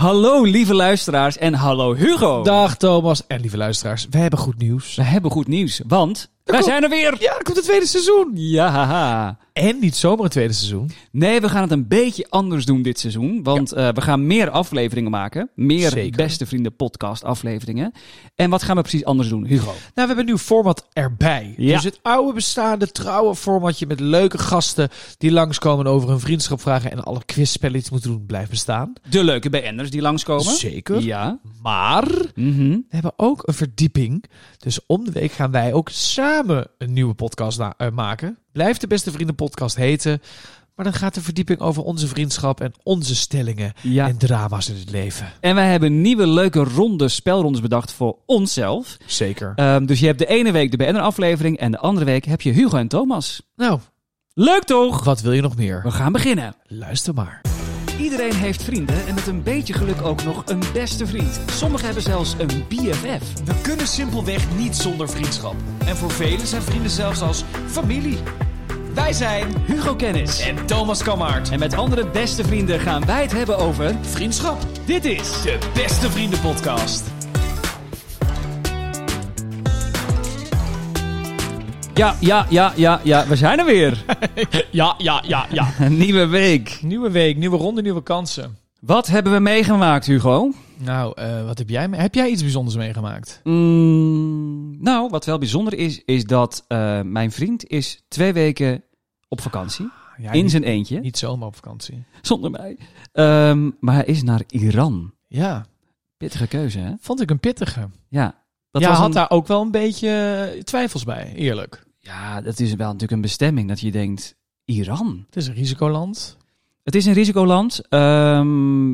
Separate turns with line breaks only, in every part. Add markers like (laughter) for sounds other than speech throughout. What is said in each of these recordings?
Hallo lieve luisteraars en hallo Hugo.
Dag Thomas en lieve luisteraars, we hebben goed nieuws.
We hebben goed nieuws, want wij
komt-
zijn er weer.
Ja, er komt het tweede seizoen.
Ja, haha.
En niet zomaar het tweede seizoen.
Nee, we gaan het een beetje anders doen dit seizoen. Want eh, we gaan meer afleveringen maken. Meer
Zeker.
Beste Vrienden podcast afleveringen. En wat gaan we precies anders doen, Hugo?
Nou, we hebben een nieuw format erbij.
Ja.
Dus het oude bestaande trouwe formatje met leuke gasten die langskomen en over hun vriendschap vragen en alle quizspelletjes moeten doen, blijft bestaan.
De leuke BN'ers die langskomen.
Zeker.
Ja.
Maar we
Mhm.
hebben ook een verdieping. Dus om de week gaan wij ook samen een nieuwe podcast na- eh, maken. Blijft de Beste Vrienden podcast heten. Maar dan gaat de verdieping over onze vriendschap en onze stellingen
ja.
en drama's in het leven.
En wij hebben nieuwe leuke ronde spelrondes bedacht voor onszelf.
Zeker.
Ehm, dus je hebt de ene week de BN'er aflevering en de andere week heb je Hugo en Thomas.
Nou,
Leuk toch?
wat wil je nog meer?
We gaan beginnen.
Luister maar.
Iedereen heeft vrienden en met een beetje geluk ook nog een beste vriend. Sommigen hebben zelfs een BFF.
We kunnen simpelweg niet zonder vriendschap. En voor velen zijn vrienden zelfs als familie. Wij zijn
Hugo Kennis.
en Thomas Kammaert.
En met andere beste vrienden gaan wij het hebben over...
Vriendschap,
Dit is...
de beste vrienden podcast.
Ja, ja, ja, ja, ja. We zijn er weer.
(laughs) Ja, ja, ja, ja.
Een nieuwe week.
(laughs) Nieuwe week, nieuwe ronde, nieuwe kansen.
Wat hebben we meegemaakt, Hugo?
Nou, eh, wat heb jij? me- Heb jij iets bijzonders meegemaakt?
Mm, nou, wat wel bijzonder is, is dat eh, mijn vriend is twee weken op vakantie.
Ah, Ja,
in
niet,
zijn eentje.
niet zomaar op vakantie.
Zonder mij. Ehm, maar hij is naar Iran.
Ja,
Pittige keuze, hè?
vond ik een pittige.
Ja. Dat
Jij
was
had
een-
daar ook wel een beetje eh, twijfels bij, eerlijk.
Ja, dat is wel natuurlijk een bestemming dat je denkt, Iran.
Het is een risicoland.
Het is een risicoland. Ehm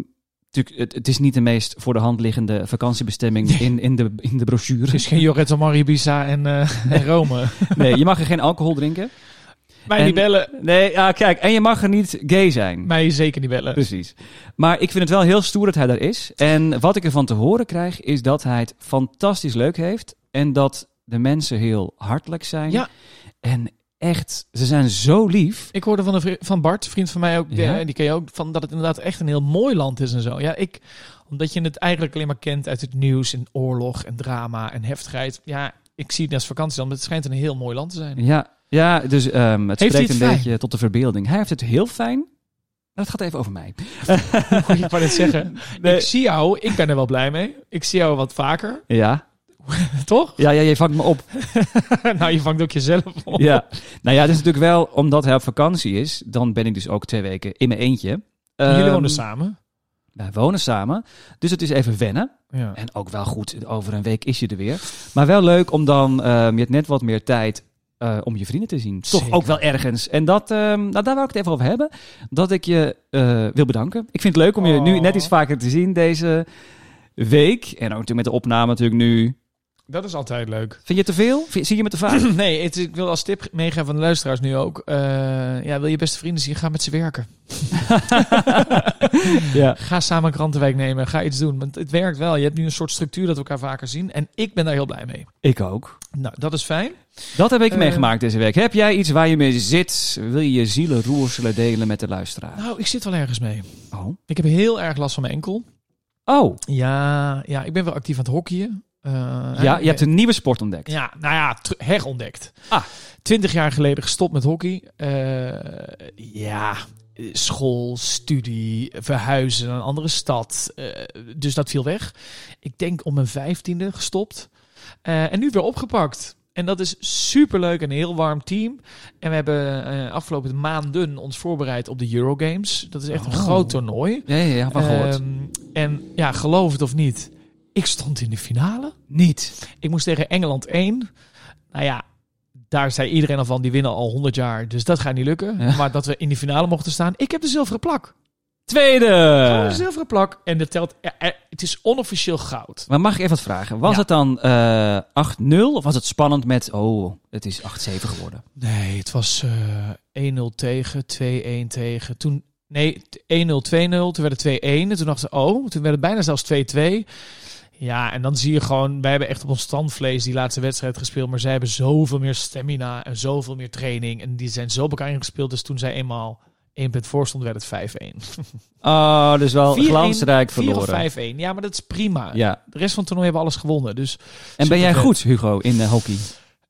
natuurlijk, het, het is niet de meest voor de hand liggende vakantiebestemming in, in, de, in de
Het is
brochure.
geen Jorrit Amar, Ibiza en, (laughs) eh, en Rome.
(laughs) Nee, je mag er geen alcohol drinken.
Mij
En-
niet bellen.
Nee, ja, kijk, en je mag er niet gay zijn.
Mij zeker niet bellen.
Precies. Maar ik vind het wel heel stoer dat hij daar is. En wat ik ervan te horen krijg, is dat hij het fantastisch leuk heeft. En dat de mensen heel hartelijk zijn.
Ja.
En echt, ze zijn zo lief.
Ik hoorde van, een vri- van Bart, vriend van mij ook, die- eh,
Ja?
die ken je ook, van dat het inderdaad echt een heel mooi land is en zo. Ja, ik, omdat je het eigenlijk alleen maar kent uit het nieuws en oorlog en drama en heftigheid. Ja, ik zie het als vakantie dan, maar het schijnt een heel mooi land te
(laughs)
zijn.
Ja, ja dus ehm, het
Heeft hij
spreekt
het
een
fijn?
beetje tot de verbeelding. Hij heeft het heel fijn. Maar het gaat even over
(laughs)
mij.
Moet ik maar net zeggen.
Nee.
Ik zie jou, ik ben er wel blij mee. Ik zie jou wat vaker, (laughs)
Ja, (laughs)
toch?
ja, ja je vangt me
(laughs)
op.
nou, je vangt ook jezelf op.
Ja. Nou ja, het is natuurlijk wel omdat hij op vakantie is. Dan ben ik dus ook twee weken in mijn eentje.
En Jullie
Ehm,
wonen samen.
Wij wonen samen. Dus het is even wennen.
Ja.
En ook wel goed, over een week is je er weer. Maar wel leuk om dan, ehm, je hebt net wat meer tijd eh, om je vrienden te zien. Toch
Zeker.
ook wel ergens. En dat, ehm, nou, daar wil ik het even over hebben. Dat ik je eh, wil bedanken. Ik vind het leuk om je nu
Oh.
net iets vaker te zien deze week. En ook natuurlijk met de opname natuurlijk nu.
Dat is altijd leuk.
Vind je het te veel? Vind- zie je me te vaak?
(clears throat) Nee, het is- ik wil als tip meegeven van de luisteraars nu ook. eh, ja, wil je beste vrienden zien, ga met ze werken.
ja.
Ga samen een krantenwijk nemen. Ga iets doen. Want het werkt wel. Je hebt nu een soort structuur dat we elkaar vaker zien. En ik ben daar heel blij mee.
Ik ook.
Nou, dat is fijn.
Dat heb ik
Eh.
meegemaakt deze week. Heb jij iets waar je mee zit? Wil je je zielen roerselen delen met de luisteraar?
Nou, ik zit wel ergens mee.
Oh.
Ik heb heel erg last van mijn enkel.
Oh,
Ja, ja ik ben wel actief aan het hockeyen. Eh,
ja,
hè?
je hebt een nieuwe sport ontdekt.
Ja, nou ja, ter- herontdekt.
Ah.
Twintig jaar geleden gestopt met hockey. Eh, ja, eh, school, studie, verhuizen naar een andere stad. Eh, dus dat viel weg. Ik denk om mijn vijftiende gestopt. Eh, en nu weer opgepakt. En dat is superleuk en een heel warm team. En we hebben eh, afgelopen maanden ons voorbereid op de Eurogames. Dat is echt een
Oh.
groot toernooi.
Ja, ja, ja, van gehoord.
Ehm, en ja, geloof het of niet, ik stond in de finale.
Niet.
Ik moest tegen Engeland 1. Nou ja, daar zei iedereen al van, die winnen al 100 jaar. Dus dat gaat niet lukken.
Ja.
Maar dat we in die finale mochten staan. Ik heb de zilveren plak. Gewoon
Tweede!
een zilveren plak. En dat telt, eh, eh, het is onofficieel goud.
Maar mag ik even wat vragen? Was
Ja.
het dan eh 8-0 of was het spannend met, oh, het is 8-7 geworden?
Nee, het was eh, 1-0 tegen, 2-1 tegen. Toen, nee, 1-0, 2-0. Toen werd het 2-1. En toen dachten we, oh, toen werd het bijna zelfs 2-2. Ja, en dan zie je gewoon, wij hebben echt op ons standvlees die laatste wedstrijd gespeeld. Maar zij hebben zoveel meer stamina en zoveel meer training. En die zijn zo op elkaar ingespeeld. Dus toen zij eenmaal één punt voor stond, werd het 5-1. Ah,
Oh, dus wel
4-1,
glansrijk
4 of
verloren.
5-1. Ja, maar dat is prima.
Ja.
De rest van het toernooi hebben we alles gewonnen. Dus
En ben jij
Supervet.
goed, Hugo, in eh, hockey?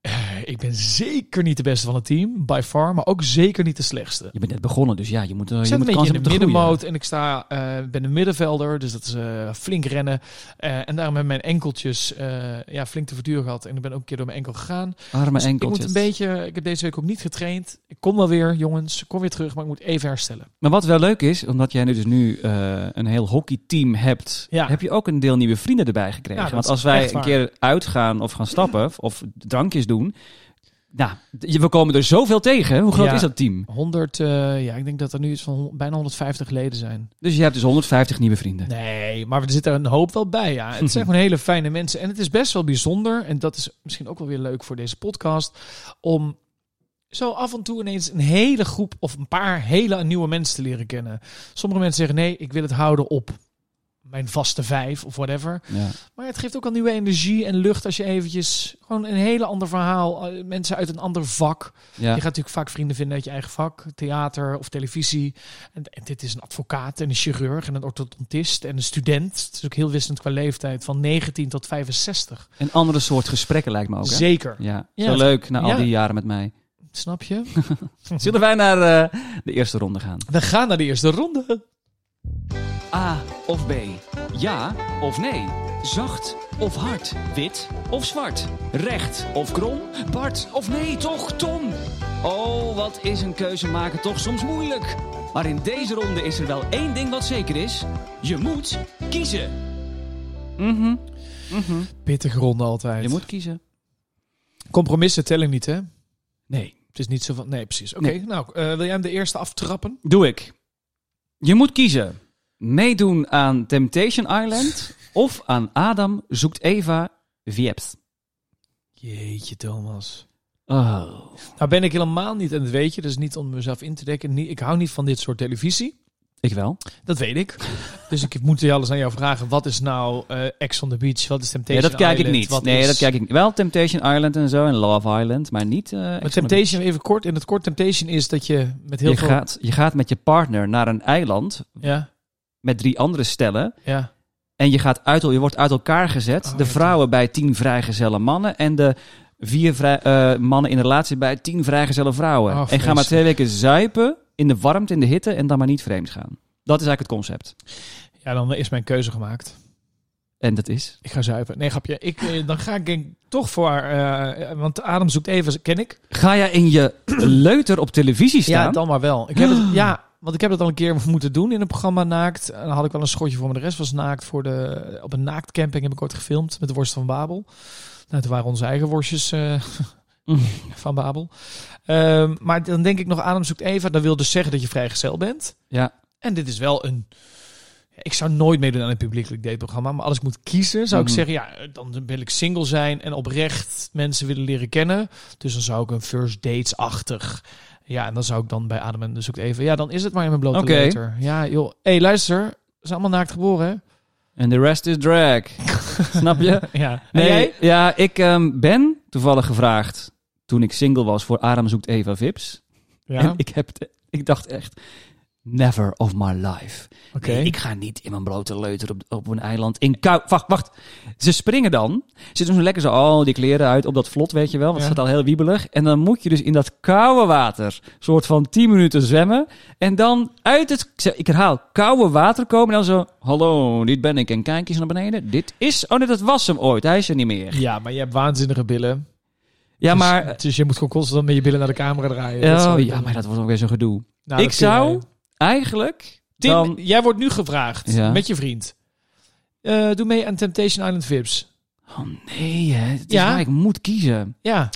eh, ik ben zeker niet de beste van het team, by far, maar ook zeker niet de slechtste.
Je bent net begonnen, dus ja, je moet, eh,
Ik
je
zit een
moet
beetje
kans
in
hebben
de
te groeien.
middenmoot en ik sta, eh, ben een middenvelder, dus dat is eh, flink rennen. Eh, en daarom hebben mijn enkeltjes eh, ja, flink te verduren gehad. En ik ben ook een keer door mijn enkel gegaan.
Arme
Dus ik
enkeltjes.
moet een beetje, ik heb deze week ook niet getraind. Ik kom wel weer, jongens, ik kom weer terug, maar ik moet even herstellen.
Maar wat wel leuk is, omdat jij nu dus nu eh, een heel hockeyteam hebt,
Ja.
heb je ook een deel nieuwe vrienden erbij gekregen.
Ja, dat
Want
is
als wij
echt
een
waar.
keer uitgaan of gaan stappen of drankjes doen, nou, d- we komen er zoveel tegen. Hoe groot
Ja.
is dat team? 100,
100, eh, ja, ik denk dat er nu iets van hon- bijna 150 leden zijn.
Dus je hebt dus 150 nieuwe vrienden.
Nee, maar er zit er een hoop wel bij. Ja. Het zijn gewoon hele fijne mensen. En het is best wel bijzonder. En dat is misschien ook wel weer leuk voor deze podcast. Om zo af en toe ineens een hele groep of een paar hele nieuwe mensen te leren kennen. Sommige mensen zeggen nee, ik wil het houden op mijn vaste vijf of whatever.
Ja.
Maar het geeft ook al nieuwe energie en lucht als je eventjes gewoon een hele ander verhaal. eh, Mensen uit een ander vak.
Ja.
Je gaat natuurlijk vaak vrienden vinden uit je eigen vak, theater of televisie. En, en dit is een advocaat en een chirurg en een orthodontist en een student. Het is ook heel wisselend qua leeftijd, van 19 tot 65.
Een andere soort gesprekken lijkt me ook. Hè?
Zeker.
Ja, Mhm.
Ja,
zo
het-
leuk na al
ja.
die jaren met mij.
Snap je?
Zullen wij naar eh, de eerste ronde gaan?
We gaan naar de eerste ronde.
A of B? Ja of nee? Zacht of hard? Wit of zwart? Recht of krom? Bart of nee, toch Tom? Oh, wat is een keuze maken toch soms moeilijk. Maar in deze ronde is er wel één ding wat zeker is. Je moet kiezen. Mhm. Mhm.
Pittige ronde altijd.
Je moet kiezen.
Compromissen tellen niet, hè?
Nee.
Het is niet zo van... Nee, precies. Oké,
Nee.
nou, eh, wil jij hem de eerste aftrappen?
Doe ik. Je moet kiezen. Meedoen aan Temptation Island of aan Adam zoekt Eva Vieps.
Jeetje, Thomas.
Oh.
Nou ben ik helemaal niet, en dat weet je, dus niet om mezelf in te dekken. Niet- Ik hou niet van dit soort televisie.
Ik wel.
Dat weet ik. dus ik moet je alles aan jou vragen. Wat is nou eh Ex on the Beach? Wat is
Nee,
Temptation
dat kijk ik
Island?
niet.
Wat
Nee,
is-
dat kijk ik niet. Wel Temptation Island en zo en Love Island, maar niet... eh, Ex
Maar
on the Beach.
Temptation, even kort. In het kort, Temptation is dat je met heel
Je
veel...
gaat, je gaat met je partner naar een eiland
Ja,
met drie andere stellen
ja.
en je, gaat uit, je wordt uit elkaar gezet.
Oh,
de
ja,
vrouwen bij tien vrijgezelle mannen en de vier vrij, eh, mannen in de relatie bij tien vrijgezelle vrouwen.
Oh,
en ga maar
vreselijk.
twee weken zuipen in de warmte, in de hitte en dan maar niet vreemd gaan. Dat is eigenlijk het concept.
Ja, dan is mijn keuze gemaakt.
En dat is...
Ik ga zuipen. Nee, grapje. Ik, eh, dan ga ik denk toch voor... eh, want Adam zoekt even, ken ik.
Ga jij in je (clears throat) leuter op televisie staan?
Ja, dan maar wel. Ik heb
(gasps)
het, ja, want ik heb het al een keer moeten doen in een programma Naakt. En dan had ik wel een schotje voor, maar de rest was naakt. Voor de, op een naaktcamping heb ik ooit gefilmd met de worst van Babel. Nou, toen waren onze eigen worstjes eh, (laughs)
Mm.
van Babel. Ehm, maar dan denk ik nog, Adam zoekt Eva. Dan wil dus zeggen dat je vrijgezel bent.
Ja.
En dit is wel een... Ik zou nooit meedoen aan een publiekelijk dateprogramma. Maar als ik moet kiezen, zou ik
Mhm.
zeggen... ja, dan wil ik single zijn en oprecht mensen willen leren kennen. Dus dan zou ik een first dates-achtig... Ja, en dan zou ik dan bij Adam en zoekt even... ja, dan is het maar in mijn blote
Oké.
letter. Ja, joh. Hé, hey, luister. Ze zijn allemaal naakt geboren,
En de rest is
(laughs)
drag. Snap je?
hè? (laughs) Ja.
Nee,
En jij?
ja, ik ehm, ben toevallig gevraagd toen ik single was voor Adam zoekt Eva Vips. En
Ja,
ik, heb het- ik dacht echt, never of my life.
oké.
Nee, ik ga niet in mijn blote leuter op, op een eiland in kou. Wacht, wacht. Ze springen dan. Ze doen zo lekker zo al die kleren uit op dat vlot, weet je wel. Want
Ja.
het staat al heel wiebelig. En dan moet je dus in dat koude water, soort van 10 minuten zwemmen. En dan uit het, ik zeg- ik herhaal, koude water komen. En dan zo, hallo, dit ben ik. En kijk eens naar beneden. Dit is, oh nee, dat was hem ooit. Hij is er niet meer.
Ja, maar je hebt waanzinnige billen.
Ja,
Dus-
maar.
Dus, je moet gewoon constant met je billen naar de camera draaien. Dat
Oh,
zou ik
ja,
doen.
maar dat wordt ook weer zo'n gedoe.
Nou,
ik
dat kun je
zou
wel.
eigenlijk.
Tim,
dan,
jij wordt nu gevraagd
Ja.
met je vriend. Eh, doe mee aan Temptation Island Vips.
oh nee, hè. Het is
Ja?
waar ik moet kiezen.
Ja,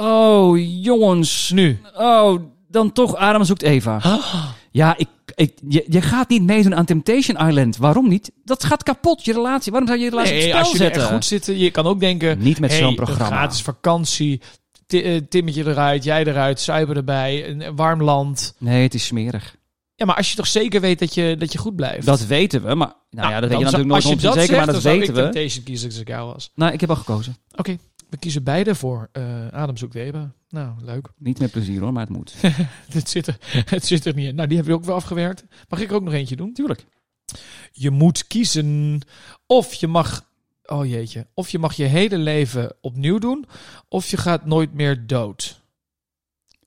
Oh, jongens.
nu.
Oh, dan toch Adam zoekt Eva.
Ah.
Ja, ik, ik, je, je gaat niet meedoen aan Temptation Island. Waarom niet? Dat gaat kapot, je relatie. Waarom zou je je relatie op
Nee,
het
als
spel
je eh, er echt
zetten?
goed zit, je kan ook denken...
niet met
hey,
zo'n
een
programma.
gratis vakantie, Ti- eh, Timmetje eruit, jij eruit, zuipen erbij, een een warm land.
Nee, het is smerig.
Ja, maar als je toch zeker weet dat je, dat je goed blijft.
Dat weten we, maar... Nou, ja, dat weet
dan
je
zou-
natuurlijk nooit
Als je
ontzien
dat
zeker,
zegt,
maar dat
dan zou
weten
ik
we.
Temptation kiezen als ik jou was.
Nou, ik heb al gekozen.
Oké, We kiezen beide voor eh Adam zoekt Weber. Nou, leuk. (laughs)
Niet met plezier hoor, maar het moet.
het, zit er, het zit er niet in. Nou, die hebben we ook wel afgewerkt. Mag ik er ook nog eentje doen?
Tuurlijk.
Je moet kiezen of je mag... Oh jeetje. Of je mag je hele leven opnieuw doen. Of je gaat nooit meer dood.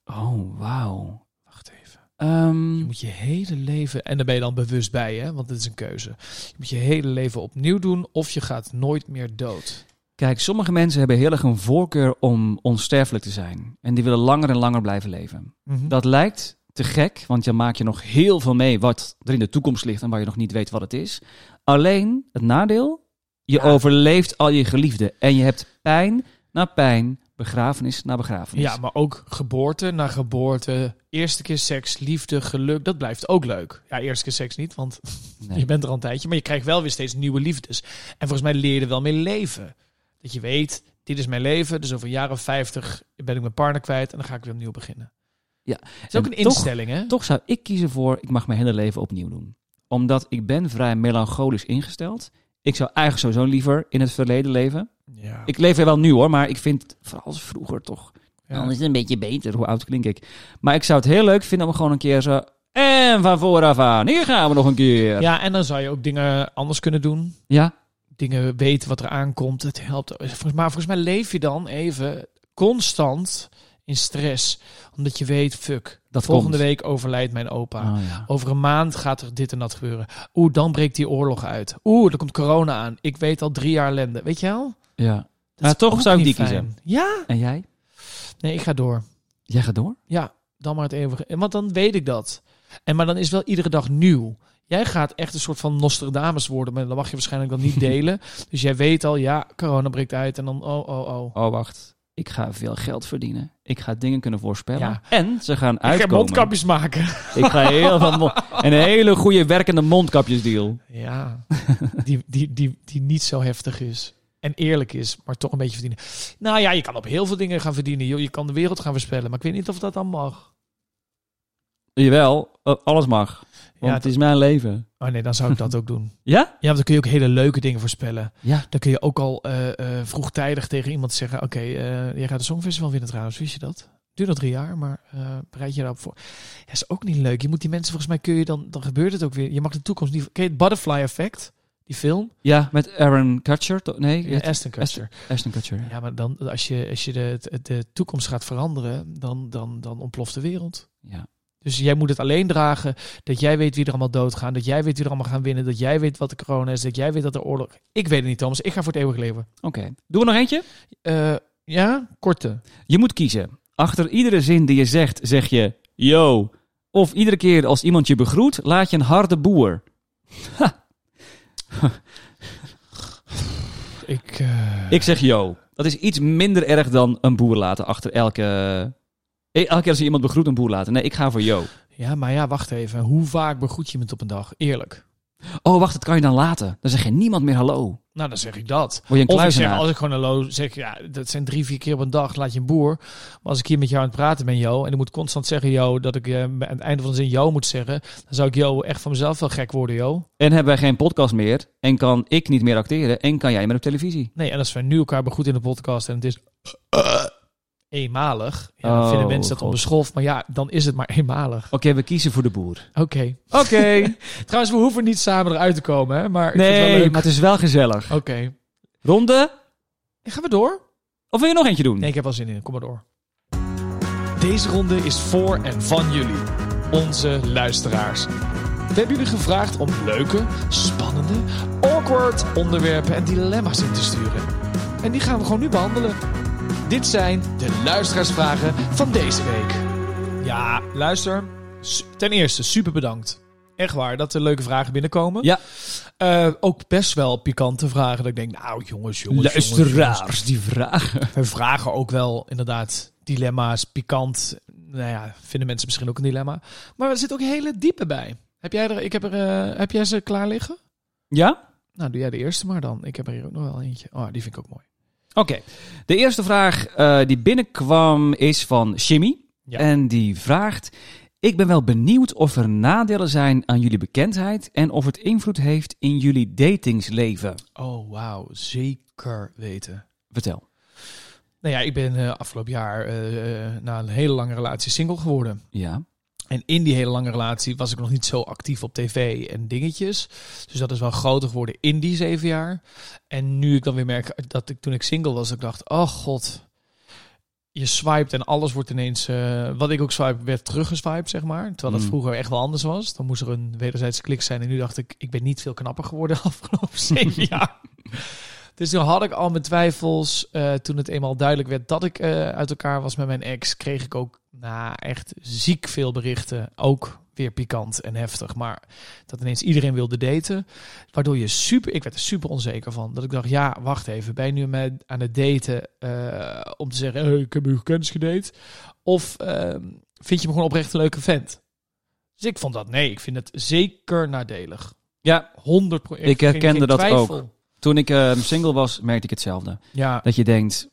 Oh, wauw.
Wacht even.
Ehm,
Je moet je hele leven... En daar ben je dan bewust bij, hè? Want het is een keuze. Je moet je hele leven opnieuw doen. Of je gaat nooit meer dood.
kijk, sommige mensen hebben heel erg een voorkeur om onsterfelijk te zijn. En die willen langer en langer blijven leven. Dat lijkt te gek, want je maakt je nog heel veel mee wat er in de toekomst ligt en waar je nog niet weet wat het is. Alleen het nadeel, je
Ja.
overleeft al je geliefden. En je hebt pijn na pijn, begrafenis na begrafenis.
Ja, maar ook geboorte na geboorte. Eerste keer seks, liefde, geluk. Dat blijft ook leuk. Ja, eerste keer seks niet, want
Nee.
Je bent er al een tijdje, maar je krijgt wel weer steeds nieuwe liefdes. En volgens mij leer je er wel mee leven. Dat je weet, dit is mijn leven, dus over een jaar of 50 ben ik mijn partner kwijt en dan ga ik weer opnieuw beginnen.
Ja,
Het is ook
en
een
toch-
instelling, hè?
Toch zou ik kiezen voor, ik mag mijn hele leven opnieuw doen. Omdat ik ben vrij melancholisch ingesteld. Ik zou eigenlijk sowieso liever in het verleden leven.
Ja.
Ik leef er wel nu hoor, maar ik vind vooral als vroeger toch.
Ja.
Dan is het een beetje beter, hoe oud klink ik. Maar ik zou het heel leuk vinden om gewoon een keer zo... En van vooraf aan, hier gaan we nog een keer. Ja,
Ja, en dan zou je ook dingen anders kunnen doen. Dingen weten wat er aankomt. Het helpt. Volgens- Maar volgens mij leef je dan even constant in stress. Omdat je weet, fuck,
Dat
volgende
komt.
week overlijdt mijn opa.
Oh, ja.
Over een maand gaat er dit en dat gebeuren. Oeh, dan breekt die oorlog uit. Oeh, er komt corona aan. Ik weet al drie jaar ellende. Weet je wel?
ja.
Dat is
toch
ook
zou ik
niet
die
fijn. Ja?
En jij?
Nee, ik ga door.
Jij gaat door?
Ja, dan maar het eeuwige. Want dan weet ik dat. En maar dan is wel iedere dag nieuw. Jij gaat echt een soort van Nostradamus worden, maar dat mag je waarschijnlijk dan niet delen. Dus jij weet al, ja, corona breekt uit en dan oh, oh, oh.
Oh, wacht. Ik ga veel geld verdienen. Ik ga dingen kunnen voorspellen.
Ja.
En ze gaan
Ik ga
uitkomen.
mondkapjes maken.
Ik ga heel veel... (laughs) mo- Een hele goede werkende mondkapjesdeal.
Ja, (laughs) die, die, die, die niet zo heftig is. En eerlijk is, maar toch een beetje verdienen. Nou ja, je kan op heel veel dingen gaan verdienen. joh. Je kan de wereld gaan voorspellen, maar ik weet niet of dat dan mag.
Jawel, eh, alles mag. Want
Ja,
het is mijn leven.
Oh nee, dan zou ik dat ook doen.
Ja?
Ja, want dan kun je ook hele leuke dingen voorspellen.
Ja.
Dan kun je ook al eh, eh, vroegtijdig tegen iemand zeggen... Oké, eh, jij gaat de Songfestival winnen trouwens, wist je dat? Duurt nog drie jaar, maar eh, bereid je daarop voor. Ja, is ook niet leuk. Je moet die mensen, volgens mij kun je dan... Dan gebeurt het ook weer. Je mag de toekomst niet... Ken je het Butterfly Effect? Die film?
Ja, met Aaron Kutcher. to- Nee,
Ja, Aston Kutcher.
Ashton Kutcher. ja.
Ja, maar dan, als je, als je de, de- de toekomst gaat veranderen, dan, dan, dan ontploft de wereld.
Ja.
Dus jij moet het alleen dragen dat jij weet wie er allemaal doodgaan, dat jij weet wie er allemaal gaan winnen, dat jij weet wat de corona is, dat jij weet dat er oorlog... Ik weet het niet, Thomas. Ik ga voor het eeuwig leven.
Oké. Doen we nog eentje?
Eh, ja, korte.
Je moet kiezen. Achter iedere zin die je zegt, zeg je yo. Of iedere keer als iemand je begroet, laat je een harde boer.
Ik, eh,
Ik zeg yo. Dat is iets minder erg dan een boer laten achter elke... Eh, Elke keer als je iemand begroet, een boer laten. Nee, ik ga voor yo.
Ja, maar ja, wacht even. Hoe vaak begroet je iemand op een dag? Eerlijk.
Oh, wacht, dat kan je dan laten. Dan zeg je niemand meer hallo.
Nou, dan zeg ik dat.
Word je een
Of ik
kluizenaar.
zeg, als ik gewoon hallo zeg, ja, dat zijn drie, vier keer op een dag, laat je een boer. Maar als ik hier met jou aan het praten ben, Jo, en ik moet constant zeggen, Jo, dat ik eh, aan het einde van de zin Jo moet zeggen, dan zou ik Jo echt van mezelf wel gek worden, Jo.
En hebben wij geen podcast meer. En kan ik niet meer acteren. En kan jij meer op televisie.
Nee, en als we nu elkaar goed in de podcast en het is eh, eenmalig, ja, dan
Oh,
vinden mensen dat
God.
onbeschoft, maar ja, dan is het maar eenmalig.
Oké, we kiezen voor de boer.
(laughs) Oké.
Oké.
Trouwens, we hoeven niet samen eruit te komen, hè, maar ik vind het wel
Nee,
leuk.
maar het is wel gezellig.
Oké.
Ronde?
Gaan we door?
Of wil je nog eentje doen?
Nee, ik heb wel zin in. Kom maar door. Deze ronde is voor en van jullie, onze luisteraars. We hebben jullie gevraagd om leuke, spannende, awkward onderwerpen en dilemma's in te sturen. En die gaan we gewoon nu behandelen. Dit zijn de luisteraarsvragen van deze week. Ja, luister. Su- Ten eerste, super bedankt. Echt waar, dat er leuke vragen binnenkomen.
Ja.
Eh, ook best wel pikante vragen. Dat ik denk, nou jongens, jongens. jongens, jongens.
Luisteraars, die vragen.
We vragen ook wel inderdaad dilemma's, pikant. Nou ja, vinden mensen misschien ook een dilemma. Maar er zit ook hele diepe bij. Heb jij, er, ik heb, er, eh, heb jij ze klaar liggen?
Ja?
Nou, doe jij de eerste maar dan. Ik heb er hier ook nog wel eentje. Oh, die vind ik ook mooi.
Oké. De eerste vraag eh, die binnenkwam is van Jimmy.
Ja.
En die vraagt... Ik ben wel benieuwd of er nadelen zijn aan jullie bekendheid... en of het invloed heeft in jullie datingsleven.
Oh, wauw. Zeker weten.
Vertel.
Nou ja, ik ben eh, afgelopen jaar eh, na een hele lange relatie single geworden.
Ja.
En in die hele lange relatie was ik nog niet zo actief op tv en dingetjes. Dus dat is wel groter geworden in die zeven jaar. En nu ik dan weer merk dat ik toen ik single was, ik dacht, oh god. Je swiped en alles wordt ineens, eh, wat ik ook swipe, werd teruggeswiped, zeg maar. Terwijl dat
Mm.
vroeger echt wel anders was. Dan moest er een wederzijds klik zijn. En nu dacht ik, ik ben niet veel knapper geworden (laughs) de afgelopen zeven jaar. Dus toen had ik al mijn twijfels. Eh, toen het eenmaal duidelijk werd dat ik eh, uit elkaar was met mijn ex, kreeg ik ook nou, echt ziek veel berichten. Ook weer pikant en heftig. Maar dat ineens iedereen wilde daten. Waardoor je super, ik werd er super onzeker van. Dat ik dacht, ja, wacht even. Ben je nu met, aan het daten eh, om te zeggen, hey, ik heb u kennis gedate? Of eh, vind je me gewoon oprecht een leuke vent? Dus ik vond dat, nee, ik vind het zeker nadelig.
Ja,
100
Ik herkende dat toen ik eh, single was, merkte ik hetzelfde.
Ja,
Dat je denkt,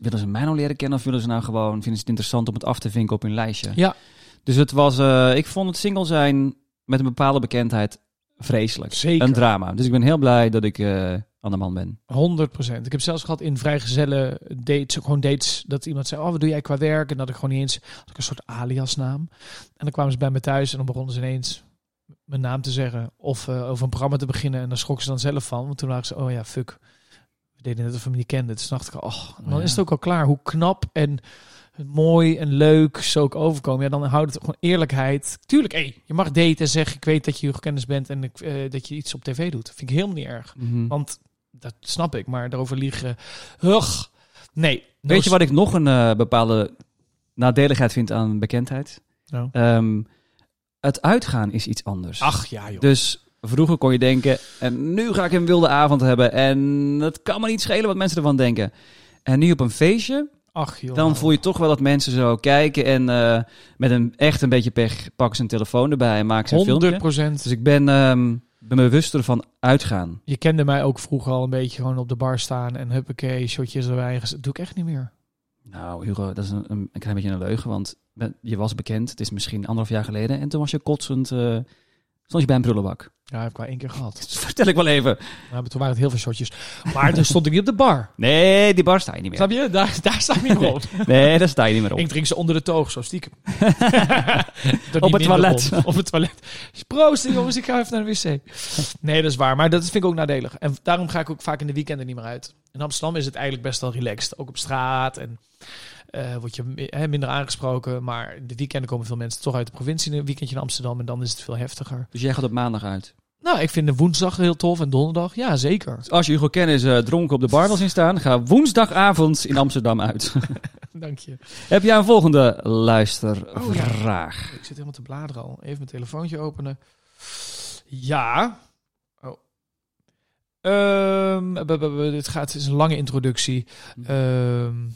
willen ze mij nou leren kennen of willen ze nou gewoon, vinden ze het interessant om het af te vinken op hun lijstje?
Ja.
Dus het was, eh, ik vond het single zijn met een bepaalde bekendheid vreselijk.
Zeker.
Een drama. Dus ik ben heel blij dat ik eh aan de man ben.
100%. Ik heb zelfs gehad in vrijgezellen dates, gewoon dates, dat iemand zei: Oh, wat doe jij qua werk? En dat ik gewoon niet eens, had ik een soort aliasnaam. En dan kwamen ze bij me thuis en dan begonnen ze ineens mijn naam te zeggen of eh, over een programma te beginnen. En daar schrokken ze dan zelf van, want toen waren ze: Oh ja, fuck. We deden net of we me niet kenden. Dus toen dacht ik: Oh, dan
Ja.
is het ook al klaar. Hoe knap en mooi en leuk zo ik overkomen. Ja, dan houdt het gewoon eerlijkheid. Tuurlijk, hé, je mag daten en zeggen: Ik weet dat je kennis bent en ik, eh, dat je iets op tv doet. Vind ik helemaal niet erg. Want dat snap ik, maar daarover liegen. Hug. Nee.
Weet je wat ik nog een eh, bepaalde nadeligheid vind aan bekendheid?
Nou.
Ehm, het uitgaan is iets anders.
Ach ja, joh.
Dus vroeger kon je denken, en nu ga ik een wilde avond hebben. En het kan me niet schelen wat mensen ervan denken. En nu op een feestje,
Ach joh.
dan voel je toch wel dat mensen zo kijken. En eh, met een, echt een beetje pech pakken ze een telefoon erbij en maken ze een filmpje.
100%.
Dus ik ben, ehm ben bewuster van uitgaan.
Je kende mij ook vroeger al een beetje gewoon op de bar staan en huppakee, shotjes erbij. Dat doe ik echt niet meer.
Nou Hugo, dat is een, een, een klein beetje een leugen. Want ben- je was bekend, het is misschien anderhalf jaar geleden. En toen was je kotsend, eh, stond je bij een prullenbak. (laughs)
Ja, heb ik wel één keer gehad.
Dat vertel ik wel even.
Nou, maar toen waren het heel veel shotjes. Maar toen stond ik niet op de bar.
Nee, die bar sta je niet meer.
Snap je? Daar, daar sta ik niet meer op.
Nee, daar sta je niet meer op.
Ik drink ze onder de toog, zo stiekem.
Op het toilet.
Op het toilet. Proosten jongens, ik ga even naar de wc. Nee, dat is waar. Maar dat vind ik ook nadelig. En daarom ga ik ook vaak in de weekenden niet meer uit. In Amsterdam is het eigenlijk best wel relaxed. Ook op straat en eh, word je mi- hè, minder aangesproken. Maar in de weekenden komen veel mensen toch uit de provincie. Een weekendje in Amsterdam en dan is het veel heftiger.
Dus jij gaat op maandag uit.
Nou, ik vind de woensdag heel tof en donderdag. Ja, zeker.
Dus als je Hugo Kennis eh, dronken op de bar wil zien staan, ga woensdagavond in Amsterdam
(laughs)
uit.
Dank je.
Heb jij een volgende luistervraag?
Ik zit helemaal te bladeren al. Even mijn telefoontje openen. Ja. Oh. Ehm, b- b- b- dit gaat, het is een lange introductie. Ehm,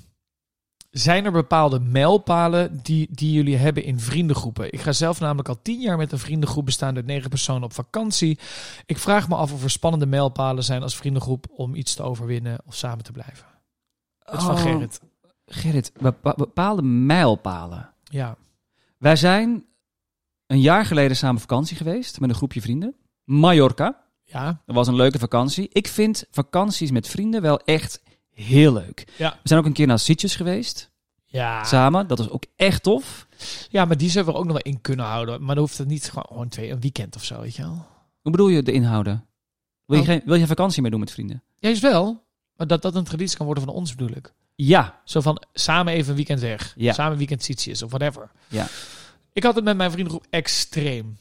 zijn er bepaalde mijlpalen die, die jullie hebben in vriendengroepen? Ik ga zelf namelijk al tien jaar met een vriendengroep bestaande uit negen personen op vakantie. Ik vraag me af of er spannende mijlpalen zijn als vriendengroep om iets te overwinnen of samen te blijven. Dat is van
Oh,
Gerrit.
Gerrit, bepa- bepaalde mijlpalen.
Ja.
Wij zijn een jaar geleden samen op vakantie geweest met een groepje vrienden. Mallorca.
Ja.
Dat was een leuke vakantie. Ik vind vakanties met vrienden wel echt heel leuk.
Ja.
We zijn ook een keer naar Sitges geweest,
Ja.
samen. Dat was ook echt tof.
Ja, maar die zouden we er ook nog wel in kunnen houden. Maar dan hoeft het niet gewoon, gewoon twee, een weekend of zo, weet je wel.
Hoe bedoel je de inhouden? Wil je,
Oh.
geen, wil je vakantie mee doen met vrienden?
Ja, is wel. Maar dat dat een traditie kan worden van ons, bedoel ik.
Ja.
Zo van, samen even een weekend weg.
Ja.
Samen een weekend sitius of whatever.
Ja.
Ik had het met mijn vriendengroep extreem.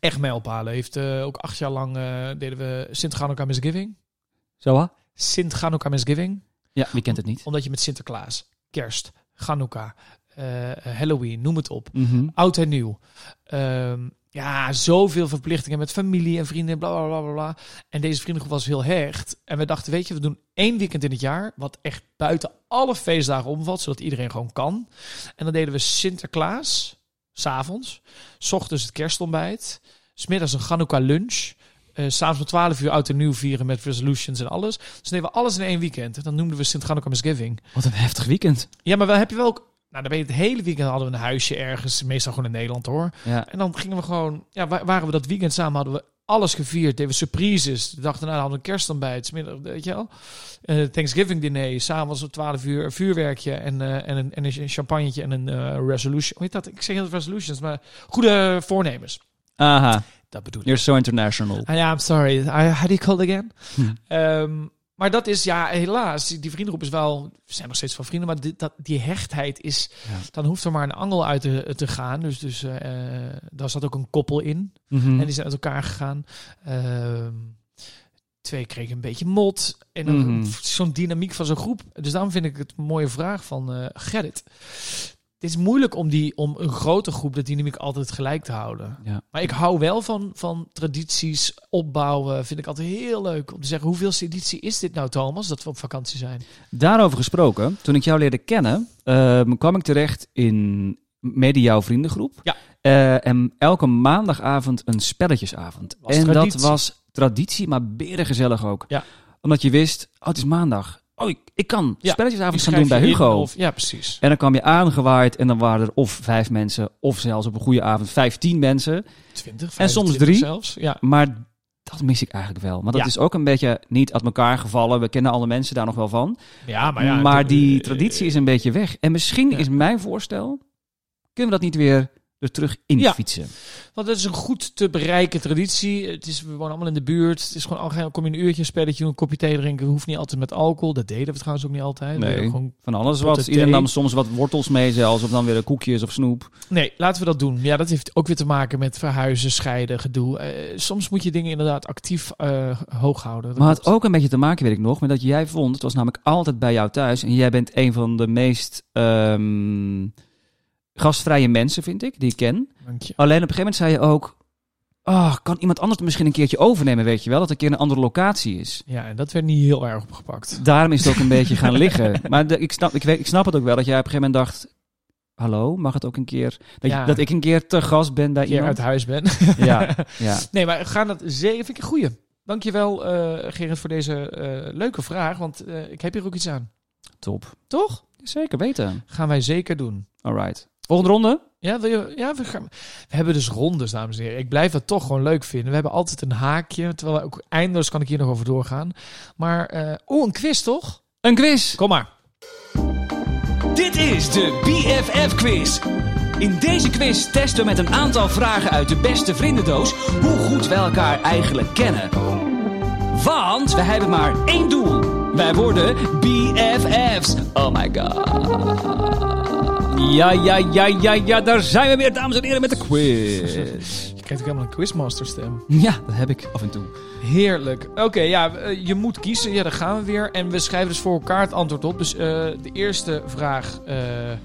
Echt mijlpalen. Heeft eh, ook acht jaar lang eh, deden we Sint Chanukah Misgiving.
Zo, hè?
Sint Chanukah Misgiving.
Ja, wie kent het niet?
Omdat je met Sinterklaas, kerst, Chanukah, eh, Halloween, noem het op.
Mhm.
oud en nieuw. Ehm, ja, zoveel verplichtingen met familie en vrienden, bla bla bla bla, bla. En deze vriendengroep was heel hecht. En we dachten, weet je, we doen één weekend in het jaar, wat echt buiten alle feestdagen omvalt, zodat iedereen gewoon kan. En dan deden we Sinterklaas, s'avonds, s ochtends het kerstontbijt, smiddags een Chanukah lunch. eh, s S'avonds om 12 uur oud en nieuw vieren met resolutions en alles. Dus deden we alles in één weekend. En dan noemden we Sint Chanukah Misgiving.
Wat een heftig weekend.
Ja, maar wel heb je wel ook... Nou, dan ben je het hele weekend hadden we een huisje ergens. Meestal gewoon in Nederland hoor.
Ja.
En dan gingen we gewoon, ja, wa- waren we dat weekend samen, hadden we alles gevierd. Deden we surprises. De dag daarna hadden we een kerstontbijt. 's middag, weet je wel. Eh, Thanksgiving diner. S'avonds om 12 uur een vuurwerkje. En, eh, en, een, en een champagnetje en een eh, resolution. Hoe heet dat? Ik zeg heel resolutions, maar goede voornemens.
Aha,
Dat bedoel ik.
you're so international.
Ah ja, I'm sorry. I, how do you call it again?
Hm.
Ehm, maar dat is, ja, helaas. Die die vriendengroep is wel... We zijn nog steeds van vrienden, maar dit, dat, die hechtheid is...
Ja.
Dan hoeft er maar een angel uit te, te gaan. Dus, dus eh, eh, daar zat ook een koppel
(laughs)
in.
Mhm.
En die zijn uit elkaar gegaan. Ehm, twee kregen een beetje mot. En dan
Mhm.
zo'n dynamiek van zo'n groep. Dus daarom vind ik het een mooie vraag van eh Gerrit. Het is moeilijk om, die, om een grote groep de dynamiek altijd gelijk te houden.
Ja.
Maar ik hou wel van, van tradities opbouwen. Vind ik altijd heel leuk om te zeggen: hoeveelste editie is dit nou, Thomas? Dat we op vakantie zijn.
Daarover gesproken, toen ik jou leerde kennen, ehm, kwam ik terecht in mede jouw vriendengroep.
Ja.
Eh, en elke maandagavond een spelletjesavond.
Was
en
traditie.
dat was traditie, maar berengezellig ook.
Ja.
Omdat je wist, oh, het is maandag. Oh, ik, ik kan
Ja,
spelletjesavond gaan
Die
doen bij
schrijf je in
Hugo.
of- ja, precies.
En dan kwam je aangewaaid en dan waren er of vijf mensen, of zelfs op een goede avond vijftien mensen.
20,
En soms
25
drie.
zelfs. Ja.
Maar dat mis ik eigenlijk wel. Want dat
Ja.
is ook een beetje niet uit elkaar gevallen. We kennen alle mensen daar nog wel van.
Ja, maar
Maar,
ja, dat-
die
eh,
traditie is een beetje weg. En misschien
Ja.
is mijn voorstel, kunnen we dat niet weer er terug in
Ja.
fietsen?
Want het is een goed te bereiken traditie. Het is, we wonen allemaal in de buurt. Het is gewoon algemeen. Kom je een uurtje een spelletje doen, een kopje thee drinken. Hoeft niet altijd met alcohol. Dat deden we trouwens ook niet altijd. We
Nee.
deden gewoon-
Van alles
Potten
wat. Iedereen
thee.
nam soms wat wortels mee zelfs. Of dan weer koekjes of snoep.
nee, laten we dat doen. Ja, dat heeft ook weer te maken met verhuizen, scheiden, gedoe. Eh, soms moet je dingen inderdaad actief eh, hoog houden. Dat
Maar het
klopt.
had ook een beetje te maken, weet ik nog, met dat jij vond... Het was namelijk altijd bij jou thuis. En jij bent een van de meest ehm, gastvrije mensen, vind ik, die ik ken.
Dank je.
Alleen op een gegeven moment zei je ook... ah, kan iemand anders het misschien een keertje overnemen, weet je wel? Dat het een keer een andere locatie is.
Ja, en dat werd niet heel erg opgepakt.
Daarom is het ook een beetje gaan liggen. (laughs) Maar de- ik, snap, ik, weet- ik snap het ook wel dat jij op een gegeven moment dacht... Hallo, mag het ook een keer... Dat, je-
Ja.
dat ik een keer te gast ben bij
Dat je
iemand?
uit huis bent.
(laughs) Ja, ja.
(laughs) Nee, maar gaan dat zeven. Vind ik een goeie. Dankjewel, eh Gerrit, voor deze eh, leuke vraag. Want eh, ik heb hier ook iets aan.
Top.
Toch?
Zeker weten.
Gaan wij zeker doen.
All right. Volgende ronde?
Ja, wil je, ja we, gaan, we hebben dus rondes, dames en heren. Ik blijf dat toch gewoon leuk vinden. We hebben altijd een haakje. Terwijl we ook eindeloos kan ik hier nog over doorgaan. Maar, eh oh, een quiz toch?
Een quiz!
Kom maar.
Dit is de BFF Quiz. In deze quiz testen we met een aantal vragen uit de beste vriendendoos hoe goed we elkaar eigenlijk kennen. Want we hebben maar één doel. Wij worden BFF's. Oh my god. Ja, ja, ja, ja, ja, daar zijn we weer, dames en heren, met de quiz.
Je krijgt ook helemaal een quizmaster stem.
(laughs) Ja, dat heb ik af en toe.
Heerlijk. Oké, ja, eh, je moet kiezen. Ja, daar gaan we weer. En we schrijven dus voor elkaar het antwoord op. Dus eh, de eerste vraag. eh, eh,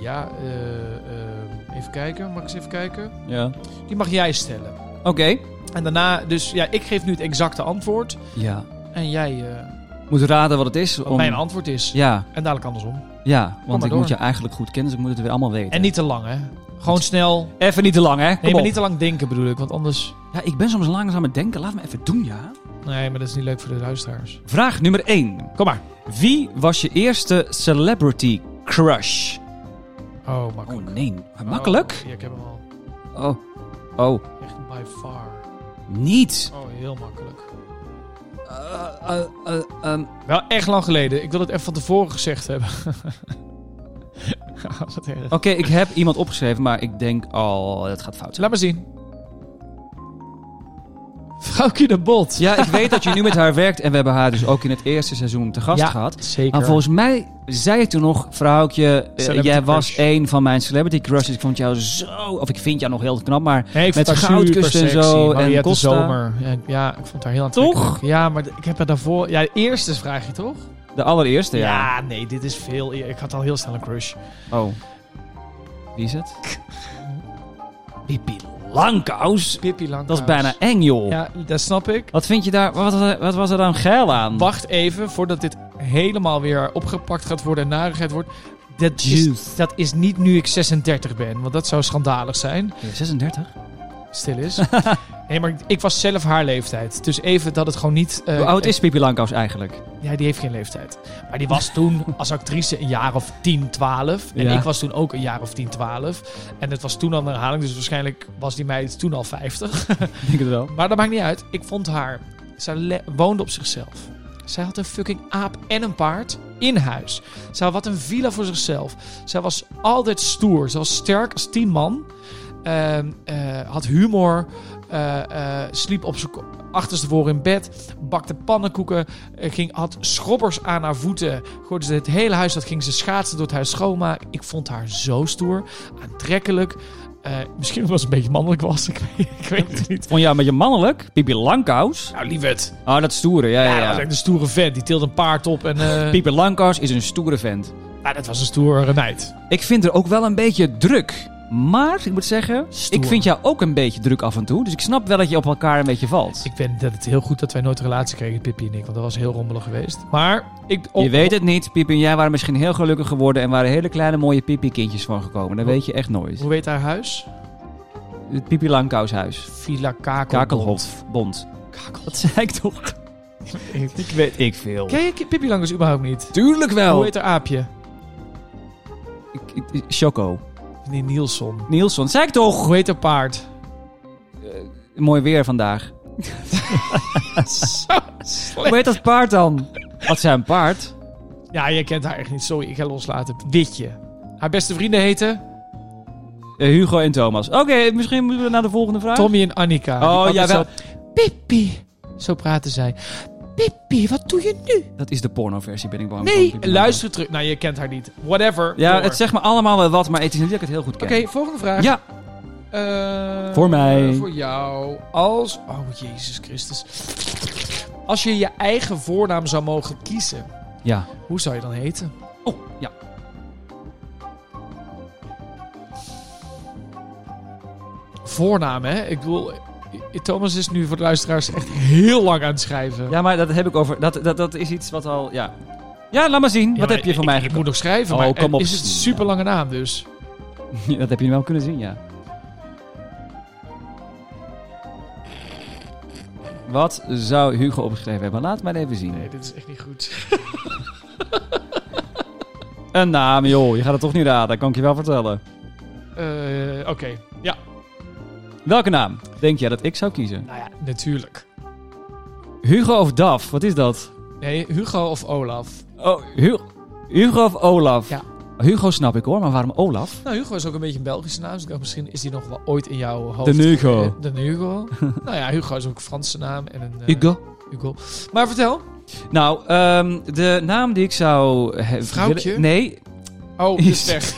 ja, eh, eh, even kijken. Mag ik eens even kijken?
Ja.
Die mag jij stellen.
Oké.
En daarna, dus ja, ik geef nu het exacte antwoord.
Ja.
En jij eh
Moet raden wat het is.
wat
om-
mijn antwoord is.
Ja,
En dadelijk andersom.
ja,
maar
want ik
door.
moet je eigenlijk goed kennen, dus ik moet het weer allemaal weten.
En niet te lang, hè? Gewoon snel.
Even niet te lang, hè? Kom
Nee, maar
op.
niet te lang denken bedoel ik, want anders.
Ja, ik ben soms langzaam aan het denken. Laat me even doen, ja.
Nee, maar dat is niet leuk voor de luisteraars.
Vraag nummer 1.
Kom maar.
Wie was je eerste celebrity crush?
Oh,
Oh
makkelijk.
nee, maar makkelijk?
Oh, ja, ik heb hem al.
Oh, oh,
Echt by far.
niet.
Oh, heel makkelijk.
Eh, eh, eh, ehm,
Wel echt lang geleden. Ik wil het even van tevoren gezegd hebben. (laughs) Oh, Wat erg.
Oké, ik heb iemand opgeschreven, maar ik denk al, het gaat fout.
Laat maar zien. Vrouwkje de Bot.
Ja, ik weet dat je nu met haar werkt en we hebben haar dus ook in het eerste seizoen te gast
Ja,
gehad.
Zeker.
Maar Nou, volgens mij zei je toen nog, vrouwtje, eh,
Celebrity
jij
crush.
was een van mijn celebrity crushes. Ik vond jou zo, of ik vind jou nog heel knap, maar
Nee, ik
Met
vond haar
goudkust
super
en
sexy.
zo en
Mariette
Costa.
Zomer. Ja, ik- Ja, ik vond haar heel aantrekkelijk.
Toch?
Ja, maar de- ik heb er daarvoor... Ja, de eerste vraag je toch?
de allereerste, ja.
Ja, nee, dit is veel... eer- Ik had al heel snel een crush.
Oh. Wie is (laughs) het? Pippi Langkous?
Pippi Langkous.
Dat is bijna Ehm. eng, joh.
Ja, dat snap ik.
Wat vind je daar... Wat, eh, wat was er dan geil aan?
Wacht even voordat dit helemaal weer opgepakt gaat worden en narigheid wordt. Dat is,
Juice.
dat is niet nu ik 36 ben, want dat zou schandalig zijn.
Ja, 36?
stil
(laughs)
is. nee, maar ik, ik was zelf haar leeftijd. Dus even dat het gewoon niet... eh,
Hoe oud is Pippi Langkous eigenlijk?
Ja, die heeft geen leeftijd. Maar die was
(laughs)
toen als actrice een jaar of 10, 12. En
Ja.
ik was toen ook een jaar of 10, 12. En het was toen al een herhaling, dus waarschijnlijk was die meid toen al 50.
Ik denk het wel.
Maar dat maakt niet uit. Ik vond haar. Zij le- woonde op zichzelf. Zij had een fucking aap en een paard in huis. Zij had wat een villa voor zichzelf. Zij was altijd stoer. Ze was sterk als tien man. Ehm, eh, had humor. eh, eh, sliep op zijn ko- achterstevoren in bed. Bakte pannenkoeken. eh, ging, had schrobbers aan haar voeten. Gooide ze het hele huis. Dat ging ze schaatsen door het huis schoonmaken. Ik vond haar zo stoer. Aantrekkelijk. Eh, misschien omdat ze een beetje mannelijk was. (laughs) Ik weet, ik weet het niet.
Vond je haar een beetje mannelijk? Pippi Langkous?
Nou, lieverd.
Ah, dat stoere, ja,
Ja,
ja.
dat
ja.
was echt een stoere vent. Die tilde een paard op en... eh,
Pippi Langkous is een stoere vent.
ja, dat was een stoere meid.
Ik vind er ook wel een beetje druk. Maar, ik moet zeggen,
Stoer.
ik vind jou ook een beetje druk af en toe. Dus ik snap wel dat je op elkaar een beetje valt.
Ik vind dat het heel goed dat wij nooit een relatie kregen, Pippi en ik. Want dat was heel rommelig geweest. Maar ik...
je weet het niet, Pippi en jij waren misschien heel gelukkig geworden... en waren hele kleine mooie Pippi-kindjes van gekomen. Dat
Hoe-
weet je echt nooit.
Hoe weet haar huis?
Het Pippi Langkoushuis.
Villa Kakel.
Kakelhof. Bond. Wat zei ik toch?
Ik-
weet ik veel.
Ken je Pippi Langers überhaupt niet?
Tuurlijk wel.
Hoe heet haar aapje?
Ik- ik- ik- Choco.
Meneer Nielsen.
Nielsen, zei ik toch?
Hoe heet haar
(laughs)
paard?
Mooi weer vandaag. Hoe heet dat paard dan? Wat zijn een paard?
Ja, je kent haar echt niet. Sorry, ik ga loslaten. Witje. Haar beste vrienden heten
Eh, Hugo en Thomas. Oké, misschien moeten we naar de volgende vraag.
Tommy en Annika. Die
Oh,
altijd
jawel.
zo, Pippi. Zo praten zij. Pippi, wat doe je nu?
Dat is de pornoversie, ben ik bang. van.
Nee,
Ik ben
luister terug. Nou, je kent haar niet. Whatever.
bang. Ja,
Door.
het zegt me allemaal wel wat, maar het is niet dat ik het heel goed
Oké,
ken.
volgende vraag.
Ja,
Eh,
Voor mij.
Voor jou. Als... Oh, Jezus Christus. Als je je eigen voornaam zou mogen kiezen,
ja.
hoe zou je dan heten?
Oh, ja.
Voornaam, hè? Ik bedoel... eh, Thomas is nu voor de luisteraars echt heel lang aan het schrijven.
Ja, maar dat heb ik over. Dat, dat, dat is iets wat al. Ja, ja laat maar zien.
Ja,
wat
maar
heb je van
ik-
mij
Ik, ik
gekozen?
moet nog schrijven,
Oh,
maar
kom
kom
op.
is het super lange naam dus.
Ja, (laughs) dat heb je wel kunnen zien, ja. Wat zou Hugo opgeschreven hebben? Laat maar even zien.
Nee, dit is echt niet goed.
Een naam, joh. Je gaat het toch niet raden, kan ik je wel vertellen.
Eh, Oké, ja.
Welke naam denk jij dat ik zou kiezen?
Nou ja, natuurlijk.
Hugo of Daf? Wat is dat?
Nee, Hugo of Olaf?
Oh, Hu- Hugo of Olaf?
Ja.
Hugo snap ik hoor, maar waarom Olaf?
Nou, Hugo is ook een beetje een Belgische naam. Dus ik dacht, misschien is die nog wel ooit in jouw
De
hoofd.
Hugo.
De Hugo. (laughs) nou ja, Hugo is ook een Franse naam. En een, eh,
Hugo.
Hugo. Maar vertel.
Nou, ehm, de naam die ik zou... he-
Vrouwtje?
willen- Nee, (laughs)
Oh, die is weg.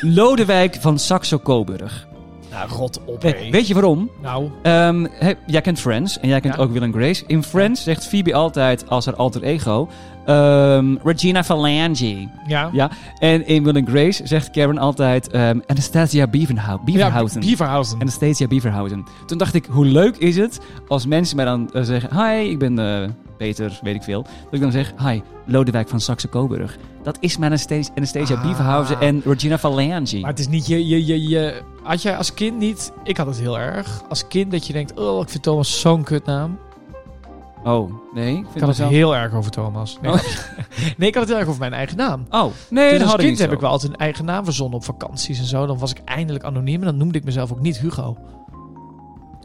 Lodewijk van Saxo-Coburg.
nou, rot op,
We-
hé.
Weet je waarom?
Nou,
Ehm, he- jij kent Friends en jij kent
Ja.
ook Will and Grace. In Friends zegt Phoebe altijd als haar alter ego... ehm, Regina Falange.
ja.
Ja, en in Will and Grace zegt Karen altijd ehm, Anastasia Beavenhou- Beaverhousen.
Ja, Beaverhausen.
Anastasia Beaverhousen. Toen dacht ik, hoe leuk is het als mensen mij dan eh, zeggen... Hi, ik ben eh, Peter, weet ik veel. Dat ik dan zeg, hi, Lodewijk van Saxe-Coburg. Dat is mijn Anastasia, Anastasia
Ah.
Beaverhousen en Regina Falange.
Maar het is niet je, je, je, je... Had jij als kind niet... Ik had het heel erg. Als kind dat je denkt... Oh, ik vind Thomas zo'n kutnaam.
Oh, nee? Ik
Ik
vind
had het
mezelf-
heel erg over Thomas. Nee, nee, ik had het heel erg over mijn eigen naam.
Oh, nee,
Dus
dat had
als
ik
kind
niet
heb
zo.
ik wel altijd een eigen naam verzonnen op vakanties en zo. Dan was ik eindelijk anoniem en dan noemde ik mezelf ook niet Hugo.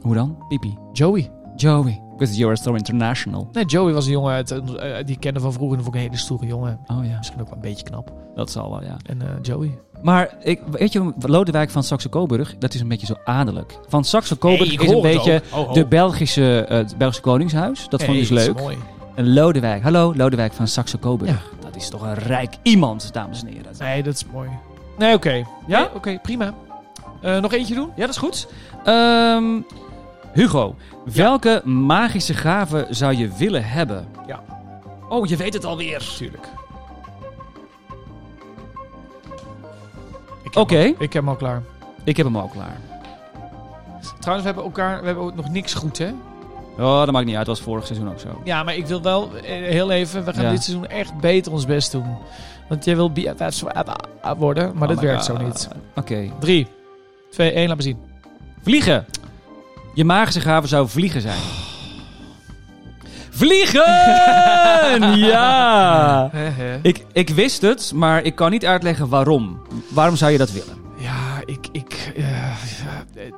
Hoe dan? Pipi.
Joey.
Joey. Because you're so international.
Nee, Joey was een jongen uit, eh, die ik kende van vroeger. En vond ik een hele stoere jongen.
Oh ja,
Misschien ook wel een beetje knap.
dat zal wel, ja.
En eh, Joey.
Maar ik, weet je, Lodewijk van Saxe-Coburg, dat is een beetje zo adellijk. Van Saxe-Coburg is een beetje de Belgische, eh, het Belgische Koningshuis. Oh, Dat vond ik dus leuk. En Lodewijk, hallo, Lodewijk van Saxe-Coburg. Dat is toch een rijk iemand, dames en heren.
Nee, dat is mooi. Nee, oké. Ja?
Ja?
Oké, prima. Eh, nog eentje doen?
Ja, dat is goed. Ehm, Hugo, welke magische gave zou je willen hebben?
Ja.
Oh, je weet het alweer.
Tuurlijk.
Oké,
Ik heb hem al klaar.
ik heb hem al klaar.
Trouwens, we hebben elkaar we hebben ook nog niks goed, hè?
Oh, dat maakt niet uit, dat was vorig seizoen ook zo.
Ja, maar ik wil wel eh, heel even. We gaan
Ja.
dit seizoen echt beter ons best doen. Want jij wil eh, BFF's worden, maar
Oh
dat
my
werkt zo
God.
niet.
Oké.
3, 2, 1, laat me zien.
Vliegen. Je magische gaven zou vliegen zijn. (laughs) Vliegen! ja! Ik, ik wist het, maar ik kan niet uitleggen waarom. Waarom zou je dat willen?
Ja, ik. ik eh, ja, eh, eh,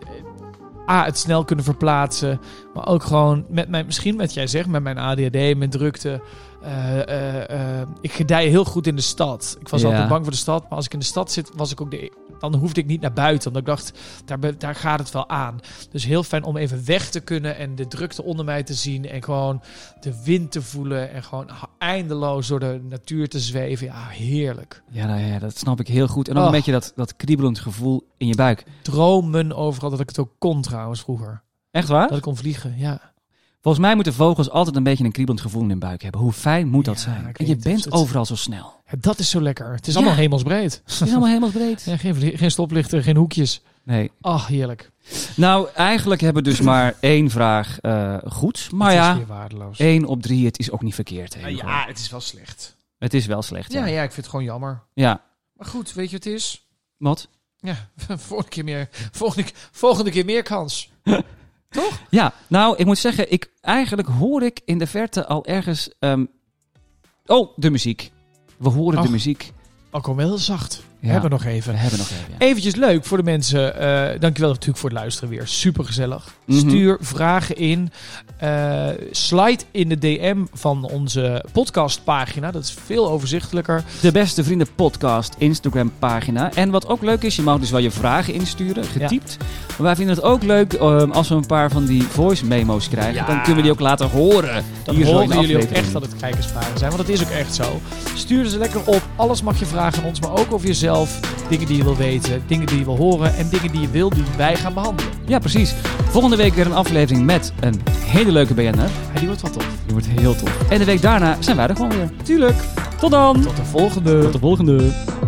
A, het snel kunnen verplaatsen. Maar ook gewoon met mijn. Misschien wat jij zegt, met mijn ADHD, mijn drukte. Eh, eh, eh, ik gedij heel goed in de stad. Ik was
Ja.
altijd bang voor de stad. Maar als ik in de stad zit, was ik ook de. e-, Dan hoefde ik niet naar buiten. Omdat ik dacht, daar, ben- daar gaat het wel aan. Dus heel fijn om even weg te kunnen en de drukte onder mij te zien. En gewoon de wind te voelen. En gewoon eindeloos door de natuur te zweven. Ja, heerlijk.
Ja, nou ja, dat snap ik heel goed. En ook
Oh.
een beetje dat, dat kriebelend gevoel in je buik.
Dromen overal dat ik het ook kon trouwens vroeger.
Echt waar?
Dat ik kon vliegen, ja.
Volgens mij moeten vogels altijd een beetje een kriebelend gevoel in hun buik hebben. Hoe fijn moet dat
Ja, ik
zijn? En
weet
je
het, het
bent
is het-
overal zo (laughs) snel.
Ja, Dat is zo lekker. Het is
Ja.
allemaal hemelsbreed.
Het is allemaal helemaal breed.
Ja, geen, vlie- geen stoplichten, geen hoekjes.
Nee.
Ach, heerlijk.
Nou, eigenlijk hebben we dus maar één vraag eh, goed. Maar
het
ja,
is weer waardeloos.
één op drie, het is ook niet verkeerd. hè, Hugo.
Eh, ja, het is wel slecht.
Het is wel slecht.
Ja,
ja.
ja, ik vind het gewoon jammer.
Ja.
Maar goed, weet je wat het is? (laughs)
Wat?
Ja, volgende keer meer, volgende, volgende keer meer kans.
Ja, nou, ik moet zeggen, ik, eigenlijk hoor ik in de verte al ergens... ehm, oh, de muziek. We horen de
Och.
muziek.
Ook al wel heel zacht. We
Ja,
hebben nog
we
even.
hebben nog even. ja.
Eventjes leuk voor de mensen. Eh dankjewel natuurlijk voor het luisteren weer. Super gezellig.
Mhm.
Stuur vragen in. Eh, slide in de DM van onze podcastpagina. Dat is veel overzichtelijker.
De Beste Vrienden Podcast Instagram pagina. En wat ook leuk is, je mag dus wel je vragen insturen, getypt. Maar wij vinden het ook leuk ehm, als we een paar van die voice memo's krijgen.
Ja.
Dan kunnen we die ook laten horen.
Dan
Hier zo in de
horen jullie ook
aflevering.
echt dat het kijkersvragen zijn, want dat is ook echt zo. Stuur ze lekker op. Alles mag je vragen aan ons, maar ook over jezelf. Dingen die je wil weten, dingen die je wil horen en dingen die je wil die wij gaan behandelen.
Ja, precies. Volgende week weer een aflevering met een hele leuke BNR.
Ja, die wordt wat tof.
Die wordt heel tof. En de week daarna zijn wij er gewoon weer. Tuurlijk. Tot dan.
Tot de volgende.
Tot de volgende.